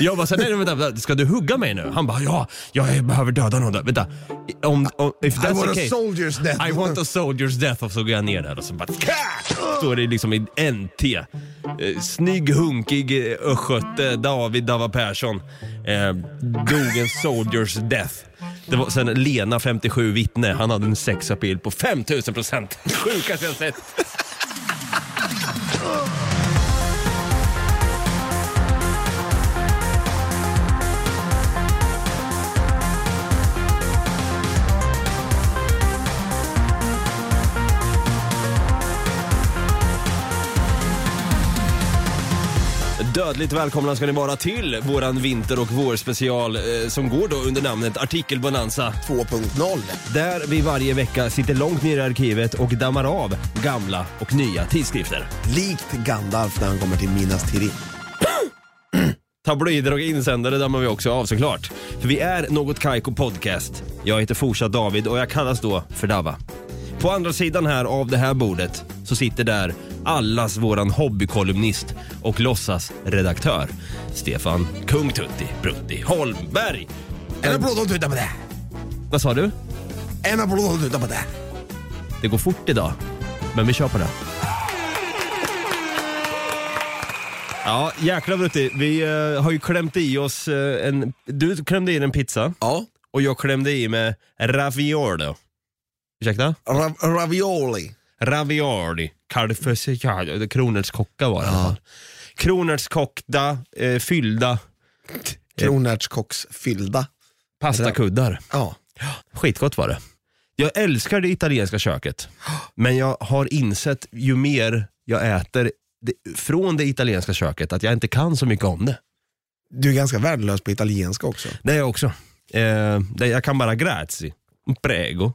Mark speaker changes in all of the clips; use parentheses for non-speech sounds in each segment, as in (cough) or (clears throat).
Speaker 1: Jag bara såhär, nej, nej, vänta, vänta, ska du hugga mig nu? Han bara, ja, jag behöver döda någon där. Vänta, om, om, if that's
Speaker 2: I want
Speaker 1: the case,
Speaker 2: a soldier's death.
Speaker 1: I want a soldier's death. Och så går jag ner där och så bara, Kah! står det liksom i NT. Eh, Snygg, hunkig eh, östgöte David Dava Persson eh, dog en soldier's death. Det var sen Lena, 57, vittne. Han hade en sexappeal på 5000 procent. (laughs) Sjukaste jag sett. Dödligt välkomna ska ni vara till våran vinter och vårspecial eh, som går då under namnet Artikelbonanza.
Speaker 2: 2.0.
Speaker 1: Där vi varje vecka sitter långt ner i arkivet och dammar av gamla och nya tidskrifter.
Speaker 2: Likt Gandalf när han kommer till Minas Tirith.
Speaker 1: Tabloider och insändare dammar vi också av såklart. För vi är Något Kaiko Podcast. Jag heter fortsatt David och jag kallas då för Dava. På andra sidan här av det här bordet så sitter där allas våran hobbykolumnist och låtsasredaktör Stefan Kung Tutti Brutti Holmberg.
Speaker 2: En applåd om du tittar på det.
Speaker 1: Vad sa du?
Speaker 2: En applåd om du tittar på det.
Speaker 1: Det går fort idag, men vi kör på det. Ja, jäklar Brutti. Vi eh, har ju klämt i oss eh, en... Du klämde i en pizza
Speaker 2: Ja.
Speaker 1: och jag klämde i med ravioli. Ursäkta?
Speaker 2: Ra- ravioli.
Speaker 1: Ravioli. Kalvfessial. Kronärtskocka var det i alla fall. Kronärtskockta, eh, fyllda
Speaker 2: Kronärtskocksfyllda.
Speaker 1: pastakuddar.
Speaker 2: Ja.
Speaker 1: Skitgott var det. Jag älskar det italienska köket, men jag har insett ju mer jag äter det, från det italienska köket att jag inte kan så mycket om det.
Speaker 2: Du är ganska värdelös på italienska också.
Speaker 1: Det är jag också. Eh, det, jag kan bara grazie, prego.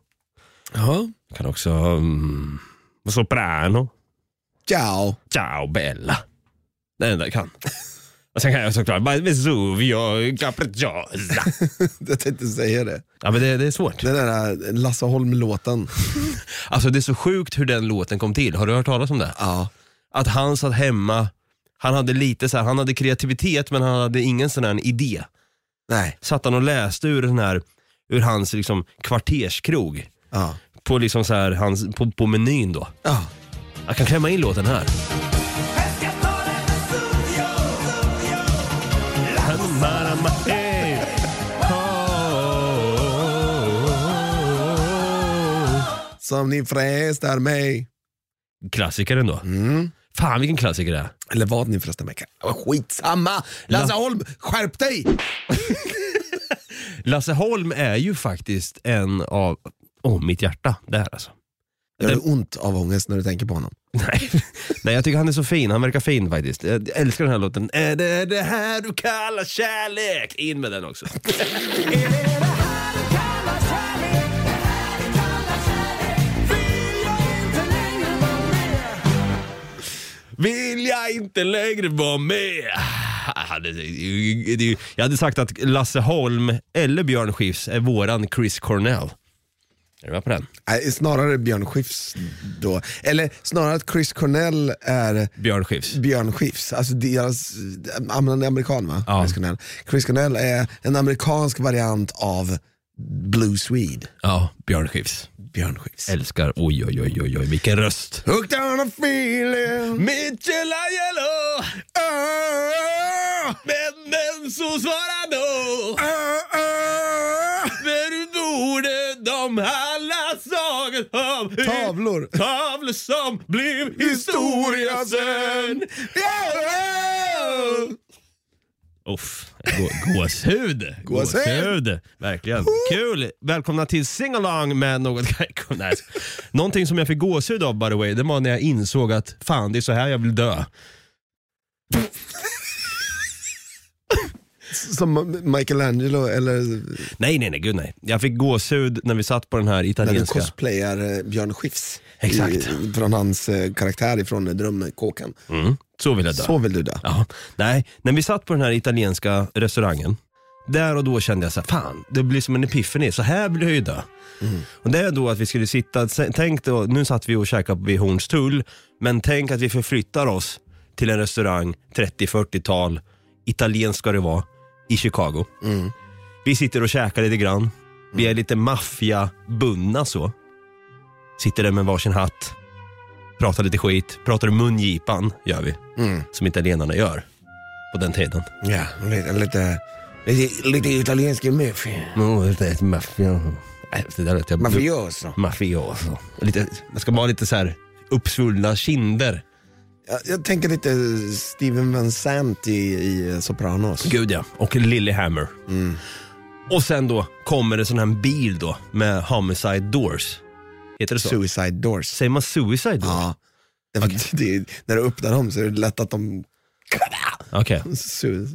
Speaker 2: Ja.
Speaker 1: Jag kan också mm, soprano,
Speaker 2: Ciao. (laughs)
Speaker 1: ciao bella. Det är det enda jag kan. (laughs) Och sen kan jag såklart bara Vesuvio, capricciosa.
Speaker 2: Jag tänkte säga det.
Speaker 1: Ja men det, det är svårt.
Speaker 2: Den där eh, Lasse Holm-låten.
Speaker 1: Alltså det är så sjukt hur den låten kom till. Har du hört talas om det?
Speaker 2: Ja.
Speaker 1: att han satt hemma, han hade lite så här, han hade kreativitet men han hade ingen sån här idé.
Speaker 2: Nej.
Speaker 1: Satt han och läste ur den här, ur hans liksom kvarterskrog.
Speaker 2: Ja.
Speaker 1: På liksom så här, hans, på, på menyn då.
Speaker 2: Ja.
Speaker 1: Jag kan klämma in låten här.
Speaker 2: Som ni frästar mig.
Speaker 1: Klassiker ändå. Fan vilken klassiker det är.
Speaker 2: Eller vad ni frästar mig. Skitsamma. Lasse Holm, skärp dig!
Speaker 1: Lasse Holm är ju faktiskt en av, åh mitt hjärta, det här alltså.
Speaker 2: Gör det ont av ångest när du tänker på honom?
Speaker 1: Nej. Nej, jag tycker han är så fin. Han verkar fin faktiskt. Jag älskar den här låten. Är det det här du kallar kärlek? In med den också. Vill jag inte längre vara med? Ah, det- det- det- Jag hade sagt att Lasse Holm eller Björn Skifs är våran Chris Cornell. Är du med på den?
Speaker 2: Nej, snarare Björn Skifs då. Eller snarare att Chris Cornell är
Speaker 1: Björn Skifs.
Speaker 2: Björn Skifs, alltså deras, han är amerikan va?
Speaker 1: Ja.
Speaker 2: Chris Cornell. Chris Cornell är en amerikansk variant av Blue Swede.
Speaker 1: Ja, Björn Skifs.
Speaker 2: Björn Skifs.
Speaker 1: Älskar, oj oj oj oj oj, vilken röst.
Speaker 2: Hooked on a feeling,
Speaker 1: Michelangelo,
Speaker 2: ah,
Speaker 1: vännen som svarar då.
Speaker 2: ah, ah.
Speaker 1: När du borde de alla sagor om
Speaker 2: Tavlor.
Speaker 1: Tavlor som blev historia sen.
Speaker 2: Yeah!
Speaker 1: Uff, gå- (laughs) gåshud.
Speaker 2: Gåshud.
Speaker 1: Verkligen. Kul. Välkomna till singalong med något (laughs) Kaiko. Nej. Någonting som jag fick gåshud av by the way, det var när jag insåg att fan det är så här jag vill dö.
Speaker 2: som Michelangelo eller
Speaker 1: Nej, nej, nej, gud nej. Jag fick gåshud när vi satt på den här
Speaker 2: när du
Speaker 1: italienska.
Speaker 2: cosplayar eh, Björn Skifs.
Speaker 1: Exakt.
Speaker 2: I, från hans eh, karaktär ifrån eh, Drömkåkan.
Speaker 1: Mm, så vill jag dö.
Speaker 2: Så vill du dö.
Speaker 1: Ja, nej, när vi satt på den här italienska restaurangen, där och då kände jag så här, fan, det blir som en epiphany, så här blir jag ju dö. Och det är då att vi skulle sitta, tänk då, nu satt vi och käkade vid Hornstull, men tänk att vi förflyttar oss till en restaurang, 30-40-tal, italiensk ska det vara, i Chicago. Vi sitter och käkar lite grann, vi är lite maffiabundna så. Sitter där med varsin hatt, pratar lite skit, pratar i mungipan, gör vi som italienarna gör på den tiden.
Speaker 2: Ja, lite, lite, lite, lite italiensk maffia.
Speaker 1: Mm, Mafioso. Det där lät jag...
Speaker 2: Mafioso.
Speaker 1: Mafioso. Lite, man ska vara lite så här uppsvullna kinder.
Speaker 2: Jag, jag tänker lite Steven Vincent i, i eh, Sopranos.
Speaker 1: Gud ja. Mm. Och Lilyhammer. Och sen då kommer det sån här bil då med Homicide Doors. Heter det så?
Speaker 2: Suicide Doors.
Speaker 1: Säger man Suicide Doors?
Speaker 2: Ja. Det var, det, när du öppnar dem så är det lätt att de...
Speaker 1: Okej.
Speaker 2: Su,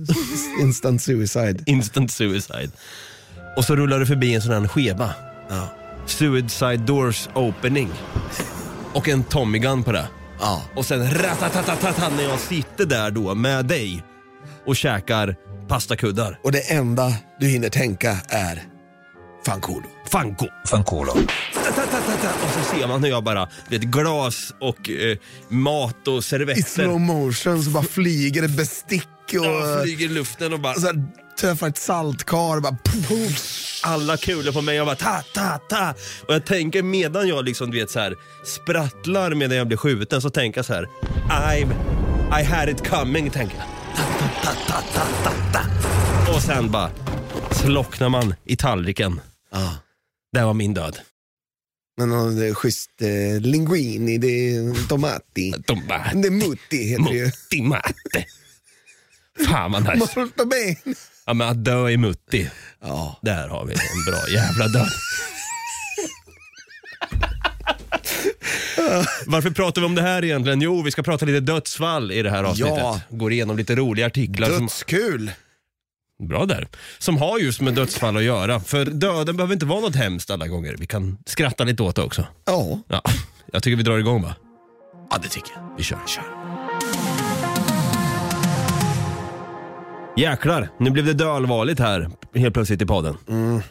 Speaker 2: instant suicide.
Speaker 1: (laughs) Instant Suicide. Och så rullar du förbi en sån här skeva.
Speaker 2: Ja.
Speaker 1: Suicide Doors Opening. Och en Tommy Gun på det.
Speaker 2: Ja.
Speaker 1: Och sen ratatatatata när jag sitter där då med dig och käkar pastakuddar.
Speaker 2: Och det enda du hinner tänka är Fanculo.
Speaker 1: Fanko.
Speaker 3: Fancolo,
Speaker 1: Tatatata. Och så ser man hur jag bara, du vet glas och eh, mat och
Speaker 2: I
Speaker 1: servetter.
Speaker 2: slow motion så bara flyger ett bestick
Speaker 1: Jag
Speaker 2: och
Speaker 1: flyger i luften och bara,
Speaker 2: så här, träffar ett saltkar och bara...
Speaker 1: alla kulor på mig. Jag bara ta, ta, ta. Och jag tänker medan jag liksom, du vet så här sprattlar medan jag blir skjuten så tänker jag så här, I've, I had it coming, tänker jag. Ta, ta, ta, ta, ta, ta. Och sen bara slocknar man i tallriken.
Speaker 2: Ja.
Speaker 1: Det var min död.
Speaker 2: Men någon eh, schysst eh, linguini, det är tomati.
Speaker 1: De bara,
Speaker 2: Det är mutti heter det ju.
Speaker 1: Mutti matte. Fan vad nice.
Speaker 2: Molto bene.
Speaker 1: Ja, men att dö i mutti.
Speaker 2: Ja.
Speaker 1: Där har vi en bra jävla död. Varför pratar vi om det här egentligen? Jo, vi ska prata lite dödsfall i det här avsnittet.
Speaker 2: Ja.
Speaker 1: Går igenom lite roliga artiklar. Som,
Speaker 2: Dödskul.
Speaker 1: bra där. Som har just med dödsfall att göra. För döden behöver inte vara något hemskt alla gånger. Vi kan skratta lite åt det också.
Speaker 2: Ja.
Speaker 1: Ja, (laughs) jag tycker vi drar igång va? Ja, det tycker jag. Vi kör. kör. Jäklar, nu blev det dödallvarligt här helt plötsligt i podden.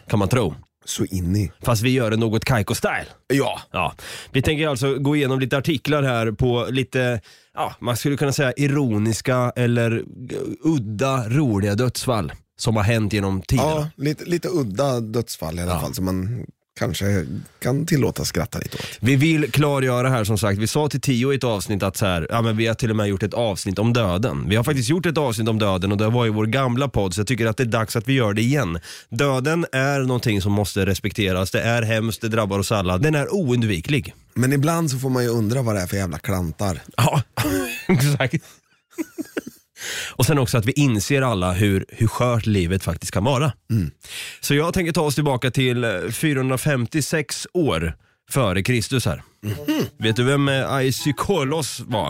Speaker 1: Kan man tro.
Speaker 2: Så in i.
Speaker 1: Fast vi gör det något Kaiko-style.
Speaker 2: Ja.
Speaker 1: Ja. Vi tänker alltså gå igenom lite artiklar här på lite, ja, man skulle kunna säga ironiska eller g- udda, roliga dödsfall som har hänt genom tiderna.
Speaker 2: Ja, lite, lite udda dödsfall i alla fall som man kanske kan tillåta skratta lite åt.
Speaker 1: Vi vill klargöra här som sagt, vi sa till Tio i ett avsnitt att så här, ja, men vi har till och med gjort ett avsnitt om döden. Vi har faktiskt gjort ett avsnitt om döden och det var i vår gamla podd så jag tycker att det är dags att vi gör det igen. Döden är någonting som måste respekteras, det är hemskt, det drabbar oss alla, den är oundviklig.
Speaker 2: Men ibland så får man ju undra vad det är för jävla klantar.
Speaker 1: Ja, (laughs) exakt. Och sen också att vi inser alla hur, hur skört livet faktiskt kan vara. Så jag tänker ta oss tillbaka till eh, 456 år före Kristus här. Vet du vem eh, Aisykolos var?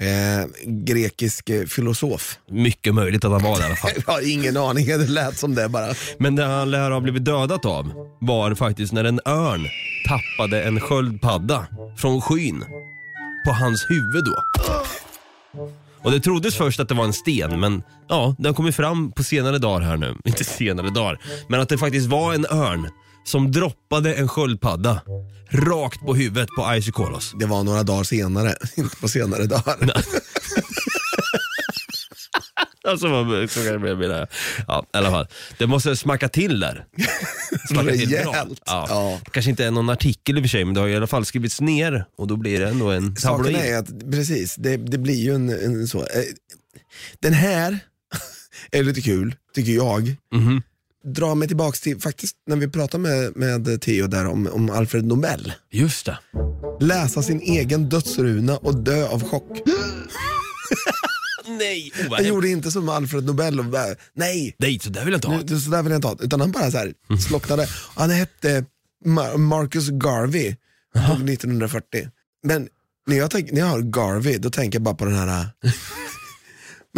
Speaker 2: Eh, grekisk eh, filosof.
Speaker 1: Mycket möjligt att han var det i alla fall.
Speaker 2: (laughs) Jag har ingen aning, det lät som det bara.
Speaker 1: Men det han lär ha blivit dödat av var faktiskt när en örn tappade en sköldpadda från skyn på hans huvud då. Och det troddes först att det var en sten, men ja, det har kommit fram på senare dagar här nu. (laughs) Inte senare dagar, men att det faktiskt var en örn som droppade en sköldpadda rakt på huvudet på Aisykolos.
Speaker 2: Det var några dagar senare, (laughs) inte på senare dagar.
Speaker 1: Alltså, vad- så kan det bli med det. här. Ja, i alla fall. Det måste smacka till där.
Speaker 2: (laughs)
Speaker 1: Smacka till bra.
Speaker 2: Rejält.
Speaker 1: Ja.
Speaker 2: Ja.
Speaker 1: Kanske inte är någon artikel i och för sig, men det har i alla fall skrivits ner och då blir det ändå en
Speaker 2: Saken
Speaker 1: tabloid.
Speaker 2: är att, precis, det, det blir ju en, en så. eh, Den här (laughs) är lite kul, tycker jag. Dra mig tillbaks till, faktiskt när vi pratade med, med Theo där om, om Alfred Nobel.
Speaker 1: Just det.
Speaker 2: Läsa sin egen dödsruna och dö av chock.
Speaker 1: Nej, oh, vad
Speaker 2: Han
Speaker 1: hemskt.
Speaker 2: gjorde inte som Alfred Nobel och bara, nej,
Speaker 1: Nej, så där vill jag inte ha.
Speaker 2: nu, det- så där vill jag inte ha Utan han bara så här slocknade. Han hette Ma- Marcus Garvey, dog (laughs) 1940. Men när jag, tänk, när jag hör Garvey, då tänker jag bara på den här äh,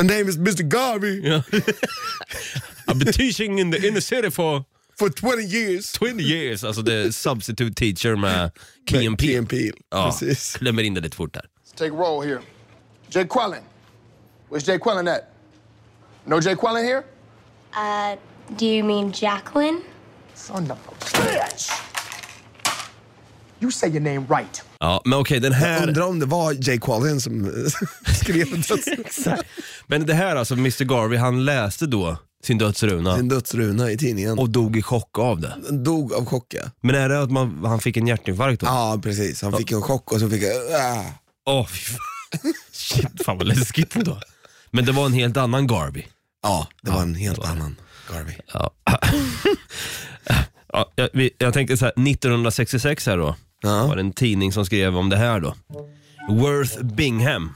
Speaker 2: My name is Mr Garvey
Speaker 1: I've been teaching in the inner city for
Speaker 2: for 20 years.
Speaker 1: 20 years. Alltså det är substitute teacher med Key and
Speaker 2: Key
Speaker 1: Peele.
Speaker 2: and Peele,
Speaker 1: Ja,
Speaker 2: precis.
Speaker 1: klämmer in det lite fort där.
Speaker 3: Take a roll here. Jay Quellen. Where's Jay Quellen at? No Jay Quellen here?
Speaker 4: Uh, do you mean Jacqueline?
Speaker 3: Son of a bitch! You say your name right.
Speaker 1: Ja, men okej den här...
Speaker 2: Undrar om det var Jay Quallen som eh, (laughs) skrev (laughs) döds,
Speaker 1: Men det här alltså, Mr Garvey han läste då sin dödsruna
Speaker 2: sin dödsruna i tidningen.
Speaker 1: och dog i chock av det.
Speaker 2: Han dog av chock ja.
Speaker 1: Men är det att man, han fick en hjärtinfarkt då?
Speaker 2: Ja precis, han fick en chock och så fick han... ah.
Speaker 1: Åh, fy fan. Shit, fan vad läskigt då. Men det var en helt annan Garvey.
Speaker 2: Ja, det var en helt annan Garvey.
Speaker 1: Ja. ja, jag, vi- jag tänkte så här, 1966 här då.
Speaker 2: Ja.
Speaker 1: var det en tidning som skrev om det här då. Worth Bingham,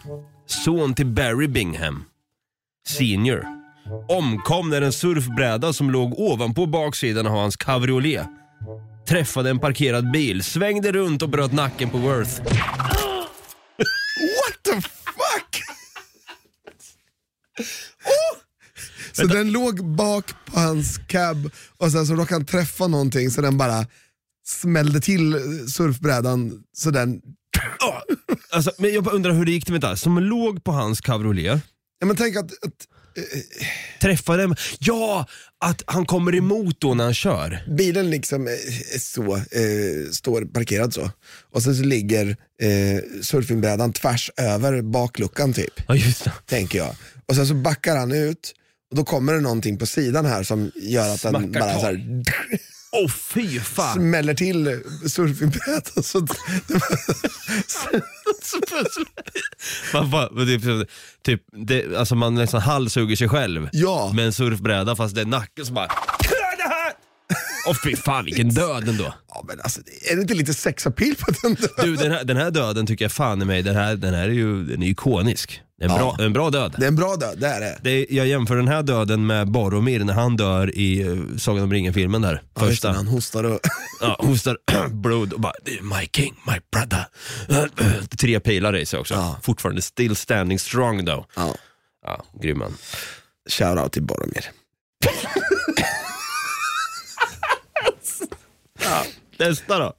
Speaker 1: son till Barry Bingham, senior, omkom när en surfbräda som låg ovanpå baksidan av hans cabriolet träffade en parkerad bil, svängde runt och bröt nacken på Worth.
Speaker 2: What the fuck? Åh! Så den låg bak på hans cab och sen så råkade han träffa någonting så den bara smällde till surfbrädan så den...
Speaker 1: Alltså, men jag bara undrar hur det gick till med det här. Som låg på hans cabriolet
Speaker 2: Ja, men tänk att, att
Speaker 1: träffade en... Ja! Att han kommer emot då när han kör.
Speaker 2: bilen liksom eh, är så, eh, står parkerad så och sen så ligger eh, surfingbrädan tvärs över bakluckan typ.
Speaker 1: Ja, just det.
Speaker 2: tänker jag. Och sen så backar han ut och då kommer det någonting på sidan här som gör att
Speaker 1: Smackar
Speaker 2: den bara
Speaker 1: tag.
Speaker 2: så här,
Speaker 1: Åh fy fan.
Speaker 2: smäller till surfingbrädan. (laughs) Så,
Speaker 1: Man, bara- men det, är precis- typ, det, alltså man nästan halshugger sig själv
Speaker 2: Ja.
Speaker 1: med en surfbräda fast det är nacken som bara "Kör det här! Åh fy fan vilken död ändå.
Speaker 2: ja, men alltså, är det inte lite sexapil på den? Där?
Speaker 1: Du den här, den här döden tycker jag fan i mig, den här, den här är ju den är ikonisk. Det är en, bra, en bra död.
Speaker 2: Det är en bra död, det är det.
Speaker 1: Det är, jag jämför den här döden med Boromir när han dör i eh, Sagan om ringen-filmen där.
Speaker 2: Ja, just det,
Speaker 1: Första.
Speaker 2: Han hostar och...
Speaker 1: Ja, hostar (clears throat) blod och bara “My king, my brother”. (clears throat) Tre pilar i sig också.
Speaker 2: Ja.
Speaker 1: Fortfarande still standing strong though.
Speaker 2: Ja,
Speaker 1: Ja, grym man.
Speaker 2: shoutout till Boromir.
Speaker 1: Nästa då.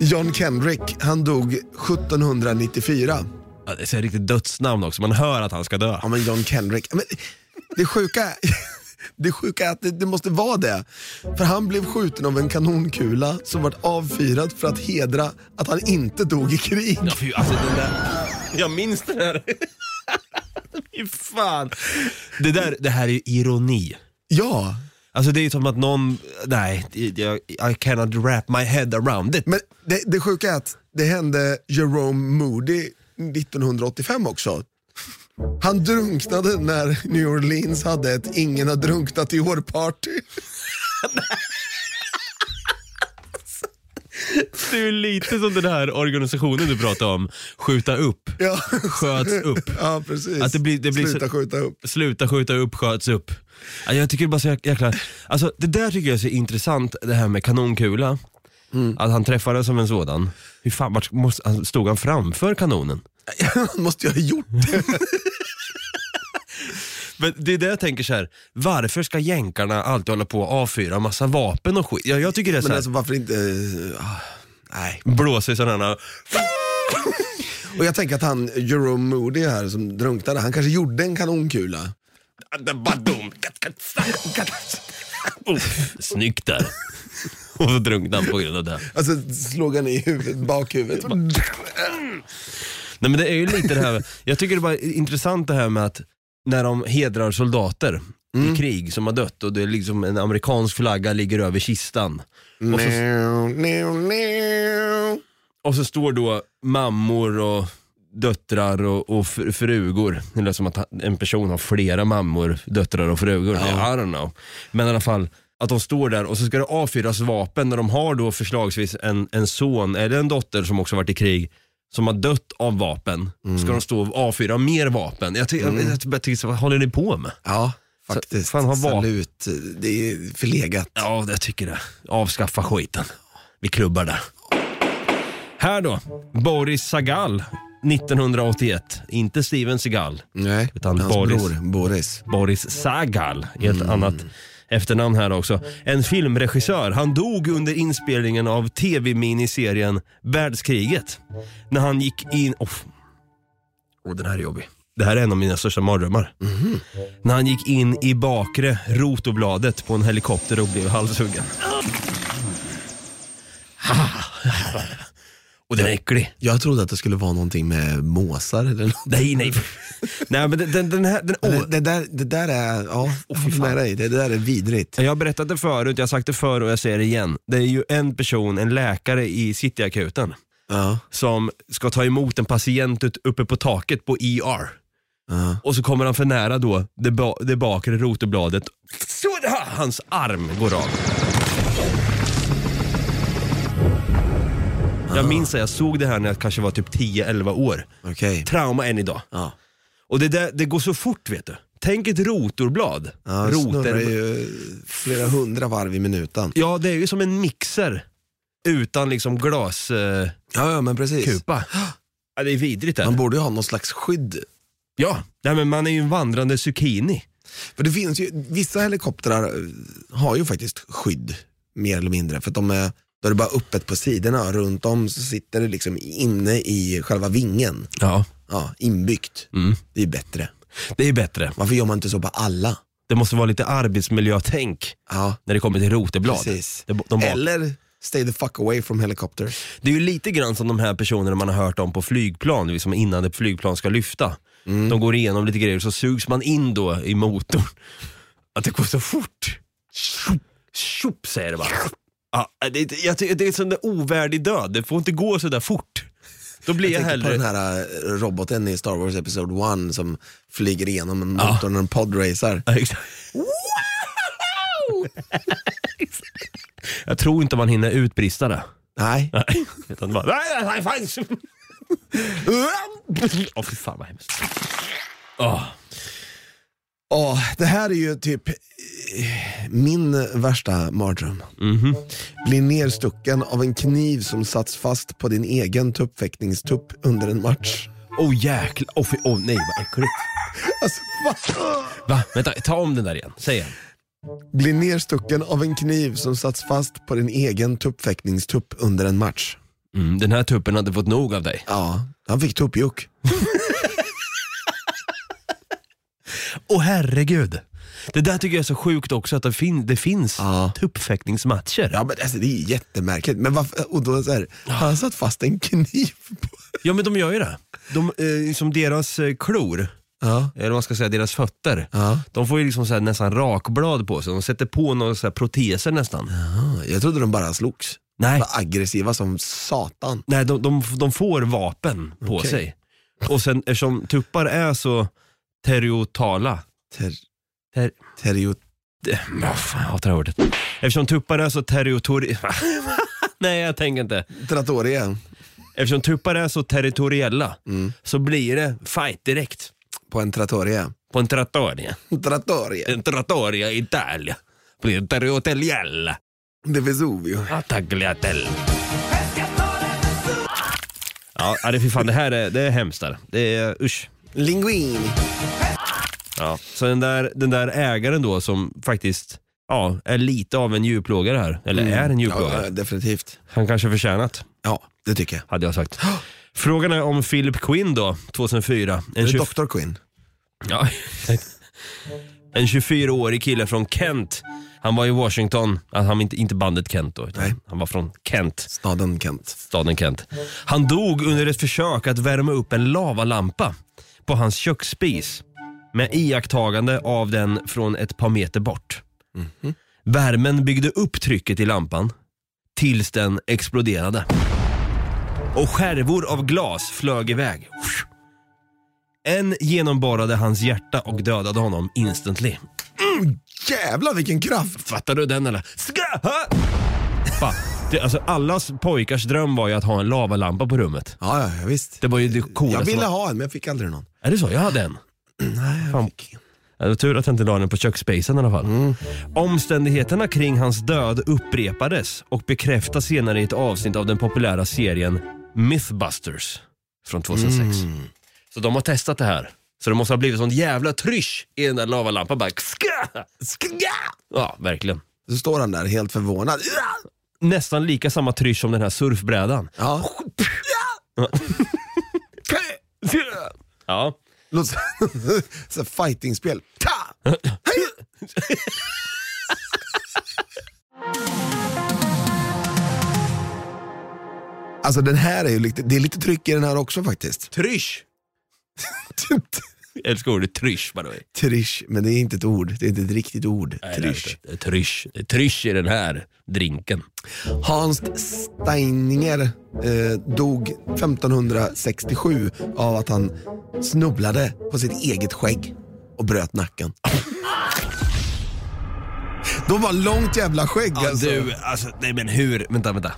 Speaker 2: John Kendrick, han dog 1794.
Speaker 1: Ja, det är så här riktigt dödsnamn också, man hör att han ska dö.
Speaker 2: Ja men John Kendrick. Men det sjuka (laughs) det sjuka är att det, det måste vara det. För han blev skjuten av en kanonkula som vart avfyrad för att hedra att han inte dog i krig.
Speaker 1: Ja, fy, alltså, den där, jag minns det där. (laughs) fy fan. Det, där, det här är ju ironi.
Speaker 2: Ja,
Speaker 1: Alltså det är ju som att någon, nej, jag, I cannot wrap my head around it.
Speaker 2: men det, det sjuka är att det hände Jerome Moody 1985 också. Han drunknade när New Orleans hade ett ingen har drunknat i år-party.
Speaker 1: Det är ju lite som den här organisationen du pratade om, skjuta upp,
Speaker 2: Ja.
Speaker 1: sköts upp.
Speaker 2: (laughs) Ja, precis.
Speaker 1: Att det blir- det blir så-
Speaker 2: Sluta skjuta upp.
Speaker 1: Sluta skjuta upp, sköts upp. Ja, jag tycker det är bara så jäk- jäkla... Alltså det där tycker jag är så intressant, det här med kanonkula. Att han träffade som en sådan. Hur fan, vart måste, han- stod han framför kanonen?
Speaker 2: Han måste ju ha gjort det.
Speaker 1: Men det är det jag tänker så här. varför ska jänkarna alltid hålla på och avfyra massa vapen och skit? Ja, jag tycker det är så
Speaker 2: Men
Speaker 1: här,
Speaker 2: alltså varför inte... ah, nej.
Speaker 1: blåser i sådana här...
Speaker 2: Och jag tänker att han Jerome Moody här som drunknade, han kanske gjorde en kanonkula.
Speaker 1: Badum, kat, kat, kat, kat. Oh, Snyggt där. (laughs) Och så drunknade han på grund av det.
Speaker 2: Alltså slog han i huvudet, bakhuvudet.
Speaker 1: Mm. Nej men det är ju lite det här, jag tycker det var intressant det här med att när de hedrar soldater i krig som har dött och det är liksom en amerikansk flagga ligger över kistan. Och så, och så står då mammor och döttrar och, och fr- frugor. Det låter som att han- en person har flera mammor, döttrar och frugor. I don't know. Men i alla fall, att de står där och så ska det avfyras vapen när de har då förslagsvis en, en son eller en dotter som också varit i krig som har dött av vapen. Ska de stå och avfyra mer vapen? Jag, ty- jag, jag, jag tycker, så, vad håller ni på med?
Speaker 2: Ja, faktiskt.
Speaker 1: Fan, har vapen.
Speaker 2: Salut. Det är förlegat.
Speaker 1: Ja, jag tycker det. Avskaffa skiten. Vi klubbar det. Här då, Boris Sagal. 1981. Inte Steven Seagal,
Speaker 2: Nej,
Speaker 1: Utan
Speaker 2: hans
Speaker 1: Boris.
Speaker 2: bror Boris.
Speaker 1: Boris Sagal, i ett annat efternamn här också. En filmregissör. Han dog under inspelningen av tv-miniserien Världskriget. När han gick in... Oh. den här är jobbig. Det här är en av mina största mardrömmar. När han gick in i bakre rotobladet på en helikopter och blev (laughs) halshuggen. Och den är äcklig.
Speaker 2: Jag trodde att det skulle vara någonting med måsar eller något.
Speaker 1: Nej, nej. (laughs) nej, men den, den här... Den, åh.
Speaker 2: Det, det, där, det där är, ja, oh, dig. Det, det där är vidrigt.
Speaker 1: Jag har berättat det förut, jag har sagt det förr och jag säger det igen. Det är ju en person, en läkare i Cityakuten,
Speaker 2: Ja,
Speaker 1: som ska ta emot en patient ut- uppe på taket på ER.
Speaker 2: ja.
Speaker 1: Och så kommer han för nära då det, ba- det bakre rotobladet. Så där! Hans arm går av.
Speaker 2: Uh-huh.
Speaker 1: Jag minns att jag såg det här när jag kanske var typ 10-11 år.
Speaker 2: okej.
Speaker 1: Trauma än idag.
Speaker 2: Ja.
Speaker 1: Och det, där, det går så fort vet du. Tänk ett rotorblad.
Speaker 2: Ja, det
Speaker 1: Roten-
Speaker 2: snurrar ju flera hundra varv i minuten.
Speaker 1: Ja, det är ju som en mixer utan liksom glaskupa.
Speaker 2: Ja, ja men precis.
Speaker 1: (gasps) ja, det är vidrigt
Speaker 2: Man
Speaker 1: där.
Speaker 2: borde ju ha någon slags skydd.
Speaker 1: Ja, nej, men man är ju en vandrande zucchini.
Speaker 2: För det finns ju, vissa helikoptrar eh, har ju faktiskt skydd, mer eller mindre. För att de är, då är det bara öppet på sidorna, runt om så sitter det liksom inne i själva vingen.
Speaker 1: Ja.
Speaker 2: Ja, inbyggt.
Speaker 1: Mm.
Speaker 2: Det är bättre.
Speaker 1: Det är bättre.
Speaker 2: Varför gör man inte så på alla?
Speaker 1: Det måste vara lite arbetsmiljötänk
Speaker 2: Ja,
Speaker 1: när det kommer till roteblad.
Speaker 2: precis.
Speaker 1: Det, de bara,
Speaker 2: Eller stay the fuck away from helicopters.
Speaker 1: det är ju lite grann som de här personerna man har hört om på flygplan, liksom innan ett flygplan ska lyfta.
Speaker 2: Mm.
Speaker 1: De går igenom lite grejer så sugs man in då i motorn. Att det går så fort. Tjopp, tjopp säger det bara. Ja, det, jag tycker det är en sån där ovärdig död, det får inte gå så där fort. Då blir jag,
Speaker 2: Jag tänker på den
Speaker 1: hellre...
Speaker 2: här eh, roboten i Star Wars Episode 1 som flyger igenom en
Speaker 1: Ja.
Speaker 2: motor när den podracer.
Speaker 1: Ja, exakt. jag tror inte man hinner utbrista det.
Speaker 2: Nej,
Speaker 1: Nej, utan bara... Nej, nej, nej, fan. Åh fy fan vad hemskt. Åh,
Speaker 2: Ja, det här är ju typ eh, min värsta mardröm. Bli nerstucken av en kniv som satts fast på din egen tuppfäktningstupp under en match.
Speaker 1: oh, jäklar, åh fy, åh nej vad äckligt.
Speaker 2: Alltså, va?
Speaker 1: Va? Vänta, ta om den där igen, säg igen.
Speaker 2: Bli nerstucken av en kniv som satts fast på din egen tuppfäktningstupp under en match.
Speaker 1: Mm, den här tuppen hade fått nog av dig.
Speaker 2: Ja, han fick tuppjuck.
Speaker 1: Åh herregud. Det där tycker jag är så sjukt också, att det, fin- det finns
Speaker 2: Ja.
Speaker 1: tuppfäktningsmatcher.
Speaker 2: Ja, men alltså, det är jättemärkligt. Men varför, och då så här, han satt fast en kniv på...
Speaker 1: Ja men de gör ju det. De, eh, som deras eh, klor,
Speaker 2: Ja,
Speaker 1: eller vad man ska säga, deras fötter.
Speaker 2: Ja.
Speaker 1: De får ju liksom så här, nästan rakblad på sig. De sätter på några så här, proteser nästan.
Speaker 2: ja, jag trodde de bara slogs.
Speaker 1: Nej,
Speaker 2: Var aggressiva som satan.
Speaker 1: nej de, de, de får vapen på
Speaker 2: Okej.
Speaker 1: sig. Och sen eftersom tuppar är så terriotala.
Speaker 2: Ter,
Speaker 1: Ter,
Speaker 2: terio,
Speaker 1: oh, fan, jag hatar det här ordet. Eftersom tuppar är så territori... (laughs) nej, jag tänker inte.
Speaker 2: Trattoria
Speaker 1: Eftersom tuppar är så territoriella så blir det fight direkt.
Speaker 2: på en trattoria.
Speaker 1: På en trattoria.
Speaker 2: Trattoria.
Speaker 1: En trattoria i Italien. Blir det territoriella.
Speaker 2: Det är Vesuvio.
Speaker 1: Ah, Tagliatelle. Ja, ja, det, fy fan, det här är, det är hemskt. Där. Det är, usch.
Speaker 2: Linguini.
Speaker 1: Ja. Så den där, den där ägaren då som faktiskt ja, är lite av en djurplågare här, eller är en
Speaker 2: Mm. Ja,
Speaker 1: djurplågare.
Speaker 2: ja, definitivt.
Speaker 1: Han kanske förtjänat,
Speaker 2: Ja, det tycker jag.
Speaker 1: hade jag
Speaker 2: (gasps)
Speaker 1: sagt. Frågan är om Philip Quinn då, 2004. En,
Speaker 2: Det är
Speaker 1: 20
Speaker 2: Dr. Quinn.
Speaker 1: ja, (laughs) en 24-årig kille från Kent. Han var i Washington, alltså, han var inte, inte bandet Kent då, utan
Speaker 2: Nej.
Speaker 1: han var från Kent.
Speaker 2: Staden Kent.
Speaker 1: staden Kent. Han dog under ett försök att värma upp en lavalampa på hans köksspis med iakttagande av den från ett par meter bort. Värmen byggde upp trycket i lampan tills den exploderade. Och skärvor av glas flög iväg. En genomborrade hans hjärta och dödade honom instantly.
Speaker 2: Jävlar vilken kraft!
Speaker 1: Fattar du den eller? Ska! ha! Fan. Det, alltså, allas pojkars dröm var ju att ha en lavalampa på rummet.
Speaker 2: Ja, ja, ja, visst.
Speaker 1: Det var ju det coolaste.
Speaker 2: Jag ville
Speaker 1: som-
Speaker 2: ha en men jag fick aldrig någon.
Speaker 1: Är det så? Jag hade
Speaker 2: (clears throat)
Speaker 1: en. Fan. Ja, Det var tur att jag inte la den på köksspacen i alla fall.
Speaker 2: Mm.
Speaker 1: Omständigheterna kring hans död upprepades och bekräftas senare i ett avsnitt av den populära serien Mythbusters från 2006.
Speaker 2: Mm.
Speaker 1: Så de har testat det här. Så det måste ha blivit sån jävla trysch i den där lavalampan. Bara ska, ska. Ja, verkligen.
Speaker 2: Så står han där helt förvånad. Ja!
Speaker 1: Nästan lika samma trysch som den här surfbrädan.
Speaker 2: Ja.
Speaker 1: Ja.
Speaker 2: Låter som- (laughs) så här fightingspel. Ta! Alltså den här är ju lite, det är lite tryck i den här också faktiskt. (laughs)
Speaker 1: Trysch! Jag älskar ordet trysch by the way.
Speaker 2: Trysch, men det är inte ett ord. Det är inte ett riktigt ord.
Speaker 1: Nej, det är
Speaker 2: Trysch.
Speaker 1: inte. Det är Trysch. Det är Trysch i den här drinken.
Speaker 2: Hans Steininger eh, dog 1567 av att han snubblade på sitt eget skägg och bröt nacken. De var långt jävla skägg
Speaker 1: Ja,
Speaker 2: alltså.
Speaker 1: du, alltså, nej men hur, vänta, vänta.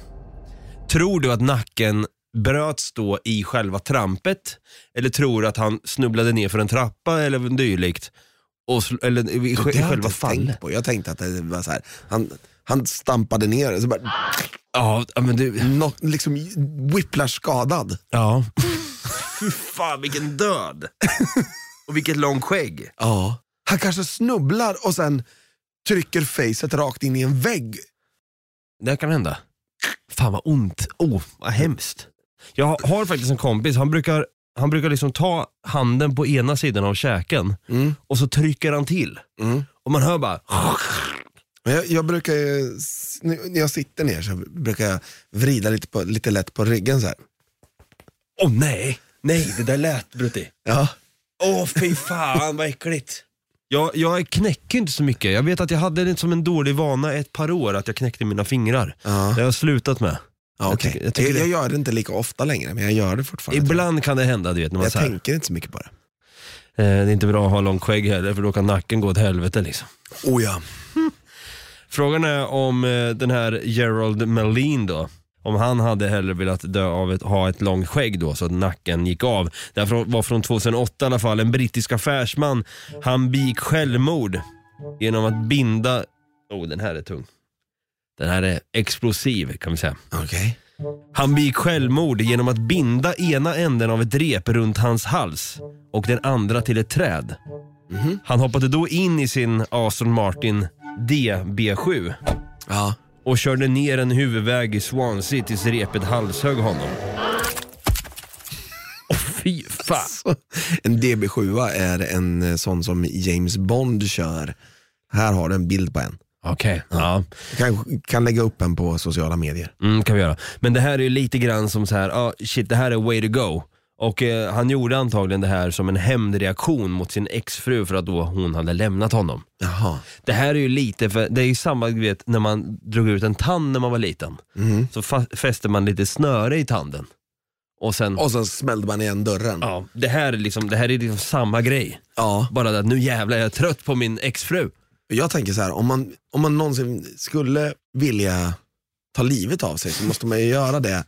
Speaker 1: Tror du att nacken bröts då i själva trampet? Eller tror du att han snubblade ner för en trappa eller dylikt? Och, sl- eller i,
Speaker 2: Det har
Speaker 1: sj- i
Speaker 2: jag
Speaker 1: själva
Speaker 2: inte tänkt
Speaker 1: fallet?
Speaker 2: på. Jag tänkte att det var så här. Han, han stampade ner, så bara,
Speaker 1: Ja, ja, men du.
Speaker 2: no, liksom whiplash-skadad.
Speaker 1: Ja. (laughs) Fy fan vilken död.
Speaker 2: (laughs)
Speaker 1: Och vilket långt skägg.
Speaker 2: Ja. Han kanske snubblar och sen trycker facet rakt in i en vägg.
Speaker 1: Det här kan hända. Fan vad ont. Oh, vad hemskt. Jag har faktiskt en kompis, han brukar, han brukar liksom ta handen på ena sidan av käken och så trycker han till. Och man hör bara
Speaker 2: Men Jag, jag brukar ju, s- när jag sitter ner så brukar jag vrida lite, på, lite lätt på ryggen så här.
Speaker 1: Åh nej, nej det där lät Brutti.
Speaker 2: Ja.
Speaker 1: Åh fy fan vad äckligt. Jag, jag knäcker inte så mycket. Jag vet att jag hade det som en dålig vana ett par år att jag knäckte mina fingrar.
Speaker 2: Ja.
Speaker 1: Det har jag slutat med.
Speaker 2: Ja,
Speaker 1: Jag
Speaker 2: okej.
Speaker 1: tycker-
Speaker 2: jag,
Speaker 1: jag tycker det-
Speaker 2: jag gör det inte lika ofta längre, men jag gör det fortfarande.
Speaker 1: Ibland kan det hända du vet när man
Speaker 2: jag
Speaker 1: så här, eh,
Speaker 2: tänker inte så mycket på det.
Speaker 1: det är inte bra att ha långt skägg heller för då kan nacken gå åt helvete liksom.
Speaker 2: Oh ja.
Speaker 1: Frågan är om eh, den här Gerald Melin då, om han hade hellre velat dö av att ha ett långt skägg då så att nacken gick av. Det här frå- var från 2008 i alla fall, en brittisk affärsman. Han begick självmord genom att binda, oh den här är tung. Den här är explosiv kan vi säga.
Speaker 2: Okej.
Speaker 1: Han begick självmord genom att binda ena änden av ett rep runt hans hals och den andra till ett träd. Han hoppade då in i sin Aston Martin DB7
Speaker 2: Ja.
Speaker 1: och körde ner en huvudväg i Swansea tills repet halshögg honom. Åh fy fan.
Speaker 2: (laughs) Så, En DB7 är en eh, sån som James Bond kör. Här har du en bild på en.
Speaker 1: Okej, ja.
Speaker 2: Jag kan, kan lägga upp en på sociala medier.
Speaker 1: Mm, kan vi göra. Men det här är ju lite grann som så här, ah, shit det här är way to go. Och eh, han gjorde antagligen det här som en hämndreaktion mot sin exfru för att då hon hade lämnat honom.
Speaker 2: Jaha.
Speaker 1: Det här är ju lite, för det är ju samma du vet när man drog ut en tand när man var liten. Så fa- fäste man lite snöre i tanden. Och sen,
Speaker 2: Och sen smällde man igen dörren.
Speaker 1: ja, det här är liksom, det här är liksom samma grej.
Speaker 2: Ja.
Speaker 1: Bara det att nu jävlar jag är trött på min exfru.
Speaker 2: Jag tänker så här, om man, om man någonsin skulle vilja ta livet av sig så måste man ju göra det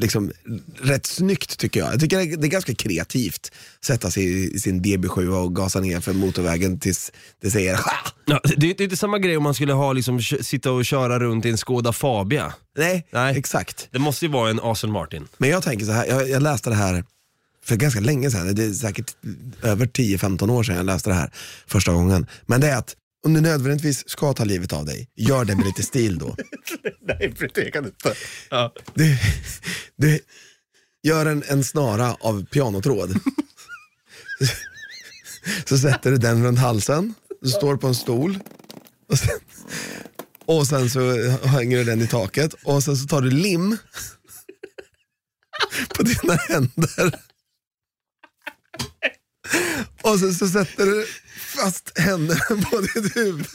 Speaker 2: liksom, rätt snyggt tycker jag. Jag tycker det är- det är ganska kreativt sätta sig i- i sin DB7 och gasa ner för motorvägen tills det säger "Ha!"
Speaker 1: Ja, det, det är inte samma grej om man skulle ha liksom, kö- sitta och köra runt i en Skoda Fabia.
Speaker 2: Nej,
Speaker 1: Nej.
Speaker 2: exakt.
Speaker 1: Det måste ju vara en Aston Martin.
Speaker 2: Men jag tänker så här, jag, jag läste det här för ganska länge sedan, det är säkert över 10-15 år sedan jag läste det här första gången. Men det är att om du nödvändigtvis ska ta livet av dig, gör det med lite stil då.
Speaker 1: (laughs) Nej, det kan inte. Ja.
Speaker 2: Du, du gör en, en snara av pianotråd. (laughs) Så sätter du den runt halsen, du står på en stol och sen, och sen så hänger du den i taket och sen så tar du lim på dina händer. Och sen så sätter du fast händerna på ditt huvud.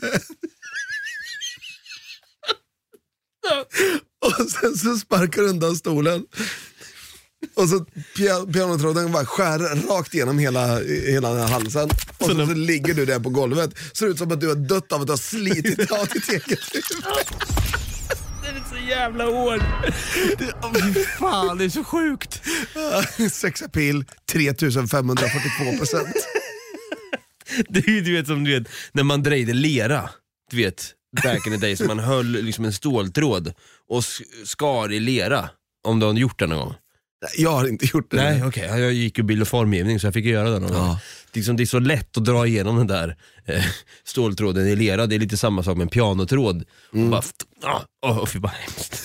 Speaker 2: Och sen så sparkar du undan stolen. Och så pia- pianotråden bara skär rakt igenom hela, hela den här halsen. Och så, så ligger du där på golvet. Ser ut som att du har dött av att du har slitit av ditt eget huvud.
Speaker 1: Den är så jävla hård. Det, åh, fy fan, det är så sjukt.
Speaker 2: Sexapil 3542 procent.
Speaker 1: (laughs) Det är ju du vet som du vet, när man drejde lera. Du vet, back in the days, man höll liksom en ståltråd och s- skar i lera. Om du har gjort det någon gång.
Speaker 2: Nej, Jag har inte gjort det.
Speaker 1: Nej, okej. Jag gick ju bild och formgivning så jag fick ju göra den. någon gång. Liksom, det är så lätt att dra igenom den där eh, ståltråden i lera. Det är lite samma sak med en pianotråd. Och bara, ah, åh, fy vad hemskt. (laughs)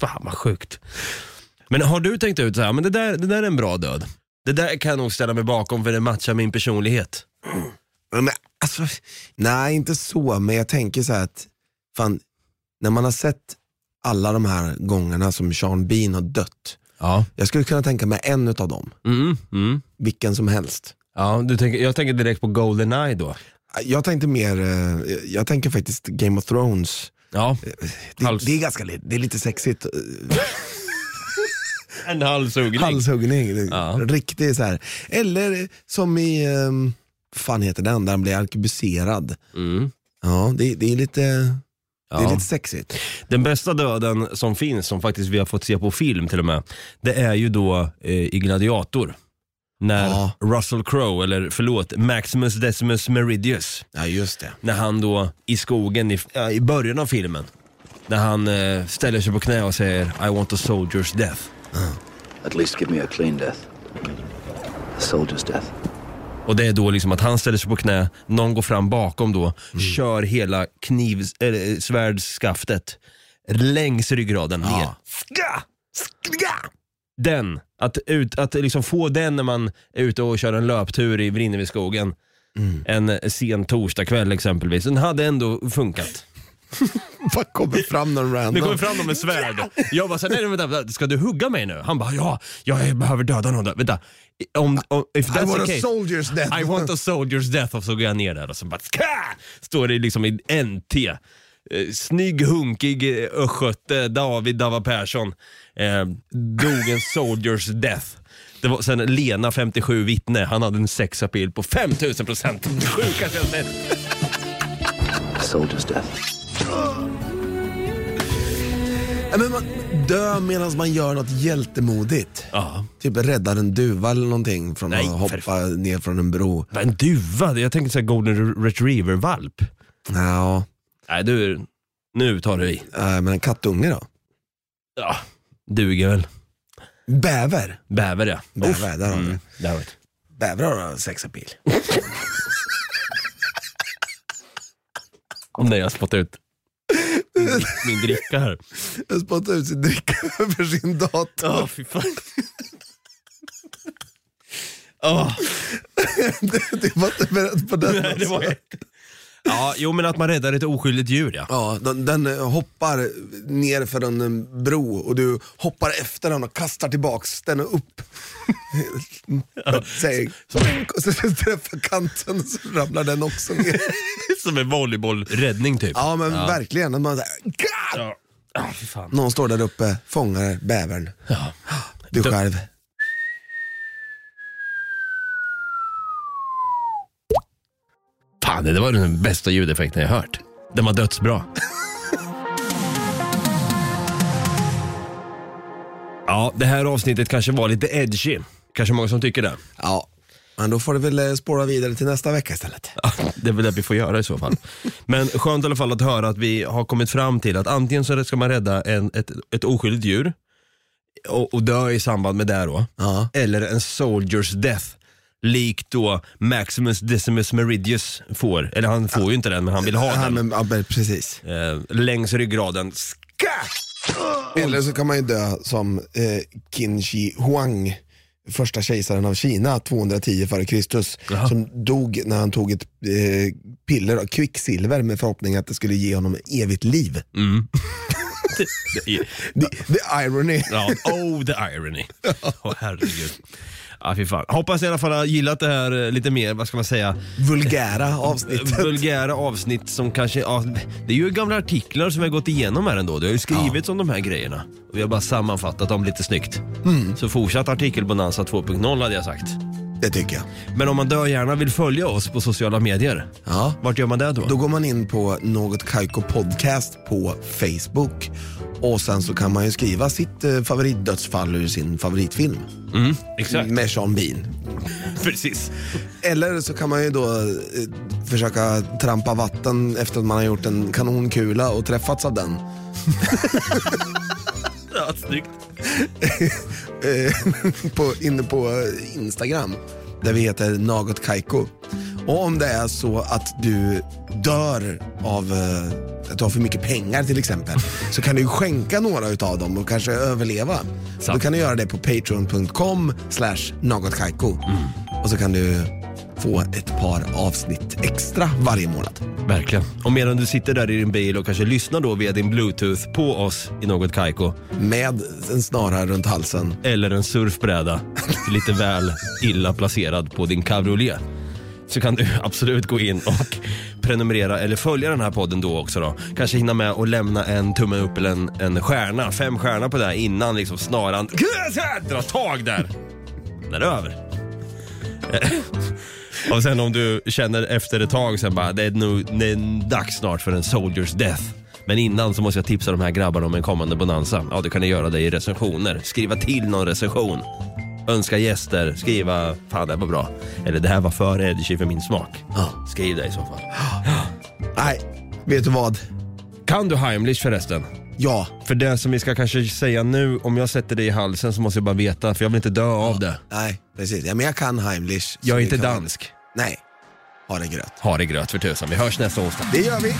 Speaker 1: Fan vad sjukt. Men har du tänkt ut så här, men det där, det där är en bra död. Det där kan jag nog ställa mig bakom för det matchar min personlighet.
Speaker 2: Men, alltså, nej, inte så, men jag tänker så här att fan, när man har sett alla de här gångerna som Sean Bean har dött.
Speaker 1: Ja.
Speaker 2: Jag skulle kunna tänka mig en utav dem,
Speaker 1: Mm, mm.
Speaker 2: vilken som helst.
Speaker 1: ja du tänker, jag tänker direkt på Goldeneye då.
Speaker 2: Jag tänkte mer, eh, jag tänker faktiskt Game of Thrones.
Speaker 1: Ja.
Speaker 2: Det,
Speaker 1: Hals,
Speaker 2: det är ganska li- det är lite sexigt. eh,
Speaker 1: en halshuggning.
Speaker 2: Halshuggning,
Speaker 1: Ja.
Speaker 2: riktigt så här. Eller som i, ehm, vad fan heter den, där han blir arkebuserad.
Speaker 1: Mm.
Speaker 2: Ja, det, det, är lite, det är
Speaker 1: Ja.
Speaker 2: lite sexigt.
Speaker 1: Den bästa döden som finns, som faktiskt vi har fått se på film till och med, det är ju då eh, i Gladiator. När
Speaker 2: Ja.
Speaker 1: Russell Crowe, eller förlåt, Maximus Decimus Meridius,
Speaker 2: Ja, just det.
Speaker 1: när han då i skogen i, ja, i början av filmen, när han eh, ställer sig på knä och säger I want a soldier's death.
Speaker 5: At least give me a clean death. A soldier's death.
Speaker 1: Och det är då liksom att han ställer sig på knä, någon går fram bakom då, kör hela knivs, eller, svärdsskaftet längs ryggraden ner. Ska! Ska! Den, att, ut, att liksom få den när man är ute och kör en löptur i Vrinneviskogen en sen torsdagkväll exempelvis. Den hade ändå funkat.
Speaker 2: (laughs) Vad kommer fram någon random?
Speaker 1: Det kommer fram någon med svärd. Jag bara, så här, nej, nej, vänta, vänta, ska du hugga mig nu? Han bara, ja, jag behöver döda någon. där." Vänta, om, om, if that's
Speaker 2: I want
Speaker 1: the
Speaker 2: a
Speaker 1: case,
Speaker 2: soldier's death.
Speaker 1: I want a soldier's death och så går jag ner där och så bara ska! Står det liksom i NT. Eh, Snygg, hunkig eh, östgöte David Dava Persson eh, dog en soldier's death. Det var sen Lena, 57, vittne. Han hade en sexapil på 5000
Speaker 2: (laughs)
Speaker 1: procent. Sjukaste jag sett.
Speaker 5: A soldier's death.
Speaker 2: Ja, men man, dö medan man gör något hjältemodigt.
Speaker 1: Ja.
Speaker 2: Typ räddar en duva eller någonting från
Speaker 1: Nej,
Speaker 2: att
Speaker 1: för
Speaker 2: hoppa ner från en bro.
Speaker 1: En duva, jag tänker såhär golden retriever-valp.
Speaker 2: Ja,
Speaker 1: Nej du, nu tar du i.
Speaker 2: eh, men en kattunge då?
Speaker 1: Ja, duger väl.
Speaker 2: Bäver.
Speaker 1: Bäver ja. Mm,
Speaker 2: Bäver, där har vi.
Speaker 1: Där har vi det.
Speaker 2: Bävrar
Speaker 1: (laughs)
Speaker 2: har sexapil.
Speaker 1: Nej, jag spottade ut min- min dricka här.
Speaker 2: Jag spottade ut sin dricka (laughs) över sin dator.
Speaker 1: Åh, fy fan. Åh,
Speaker 2: det, det var inte beredd på den.
Speaker 1: det var
Speaker 2: alltså.
Speaker 1: Ja, jo men att man räddar ett oskyldigt djur ja.
Speaker 2: Ja, den, den eh, hoppar ner för en eh, bro och du hoppar efter den och kastar tillbaks den (laughs) upp. Säger, "Plink", och så träffar kanten och så ramlar den också ner.
Speaker 1: Som en volleybollräddning typ.
Speaker 2: Ja men verkligen. När Man, så här, "Gah!"
Speaker 1: Ja. Ah, fy fan.
Speaker 2: Någon står där uppe, fångar bävern.
Speaker 1: Ja.
Speaker 2: Du
Speaker 1: Då-
Speaker 2: själv.
Speaker 1: Fan, det var den bästa ljudeffekten jag hört. Den var dödsbra. (laughs) ja, det här avsnittet kanske var lite edgy. Kanske många som tycker det.
Speaker 2: Ja. Men då får du väl eh, spåra vidare till nästa vecka istället.
Speaker 1: Ja, (laughs) Det är väl det vi får göra i så fall. Men skönt i alla fall att höra att vi har kommit fram till att antingen så ska man rädda en, ett, ett oskyldigt djur och, och dö i samband med det då.
Speaker 2: Ja.
Speaker 1: Eller en soldier's death. Likt då Maximus Decimus Meridius får. Eller han får ju inte den men han vill ha
Speaker 2: Ja,
Speaker 1: den.
Speaker 2: men, ja, men precis.
Speaker 1: Eh, längs ryggraden.
Speaker 2: Eller så kan man ju dö som eh, Qin Shi Huang, första kejsaren av Kina 210 före Kristus,
Speaker 1: Jaha.
Speaker 2: som dog när han tog ett eh, piller av kvicksilver med förhoppning att det skulle ge honom evigt liv. The, the irony.
Speaker 1: Ja, oh the (laughs) irony. Åh herregud. Ja, fy fan. Hoppas i alla fall att har gillat det här eh, lite mer, vad ska man säga, eh,
Speaker 2: Vulgära
Speaker 1: (laughs)
Speaker 2: avsnittet.
Speaker 1: vulgära avsnitt som kanske, ja, det är ju gamla artiklar som vi har gått igenom här ändå. Det har ju skrivits om de här grejerna. Och vi har bara sammanfattat dem lite snyggt. Så fortsatt artikelbonanza 2.0 hade jag sagt.
Speaker 2: Det tycker jag.
Speaker 1: Men om man dör gärna vill följa oss på sociala medier,
Speaker 2: Ja.
Speaker 1: vart gör man det då?
Speaker 2: Då går man in på Något Kaiko Podcast på Facebook och sen så kan man ju skriva sitt eh, favoritdödsfall ur sin favoritfilm
Speaker 1: (laughs) Exakt,
Speaker 2: med Sean Bean.
Speaker 1: precis.
Speaker 2: Eller så kan man ju då eh, försöka trampa vatten efter att man har gjort en kanonkula och träffats av den.
Speaker 1: Ja, snyggt.
Speaker 2: eh, (laughs) på, inne på Instagram där vi heter Något Kaiko. Och om det är så att du dör av eh, att du har för mycket pengar till exempel så kan du ju skänka några utav dem och kanske överleva.
Speaker 1: Sant.
Speaker 2: Då kan du göra det på patreon.com slash nagotkaiko. Och så kan du få ett par avsnitt extra varje månad.
Speaker 1: Verkligen. Och medan du sitter där i din bil och kanske lyssnar då via din bluetooth på oss i något kajko
Speaker 2: Med en snara runt halsen.
Speaker 1: eller en surfbräda (laughs) lite väl illa placerad på din cabriolet så kan du (laughs) absolut gå in och prenumerera eller följa den här podden då också då. Kanske hinna med att lämna en tumme upp eller en, en stjärna, fem stjärnor på det här innan liksom snaran drar tag där. Den är över. Eh, Och sen om du känner efter ett tag sen bara, det är nu det är dags snart för en Soldiers Death. Men innan så måste jag tipsa de här grabbarna om en kommande bonanza. Ja, det kan ni göra det i recensioner. Skriva till någon recension. Önska gäster, skriva fan det här var bra. Eller det här var för edgy för min smak.
Speaker 2: Ja.
Speaker 1: Skriv det i så fall.
Speaker 2: Nej, vet du vad?
Speaker 1: Kan du Heimlich förresten?
Speaker 2: Ja.
Speaker 1: För det som vi ska kanske säga nu, om jag sätter det i halsen så måste jag bara veta för jag vill inte dö av det.
Speaker 2: Nej, precis. Ja, men jag kan Heimlich. så
Speaker 1: Jag är
Speaker 2: det
Speaker 1: inte
Speaker 2: kan vara-
Speaker 1: dansk.
Speaker 2: Nej, ha det gröt.
Speaker 1: Ha det gröt för tusan. Vi hörs nästa onsdag.
Speaker 2: Det gör vi.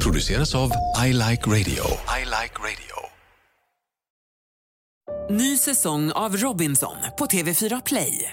Speaker 6: Produceras av I Like Radio. I like radio.
Speaker 7: Ny säsong av Robinson på TV4 Play.